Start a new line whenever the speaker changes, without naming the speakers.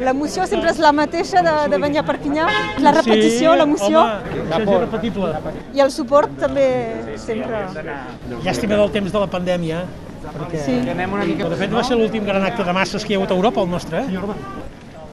L'emoció sempre és la mateixa de, de venir a Perpinyà, la repetició, l'emoció
Home, això és irrepetible.
i el suport també sempre.
Llàstima del temps de la pandèmia, perquè...
Sí.
De fet, va ser l'últim gran acte de masses que hi ha hagut a Europa, el nostre, eh?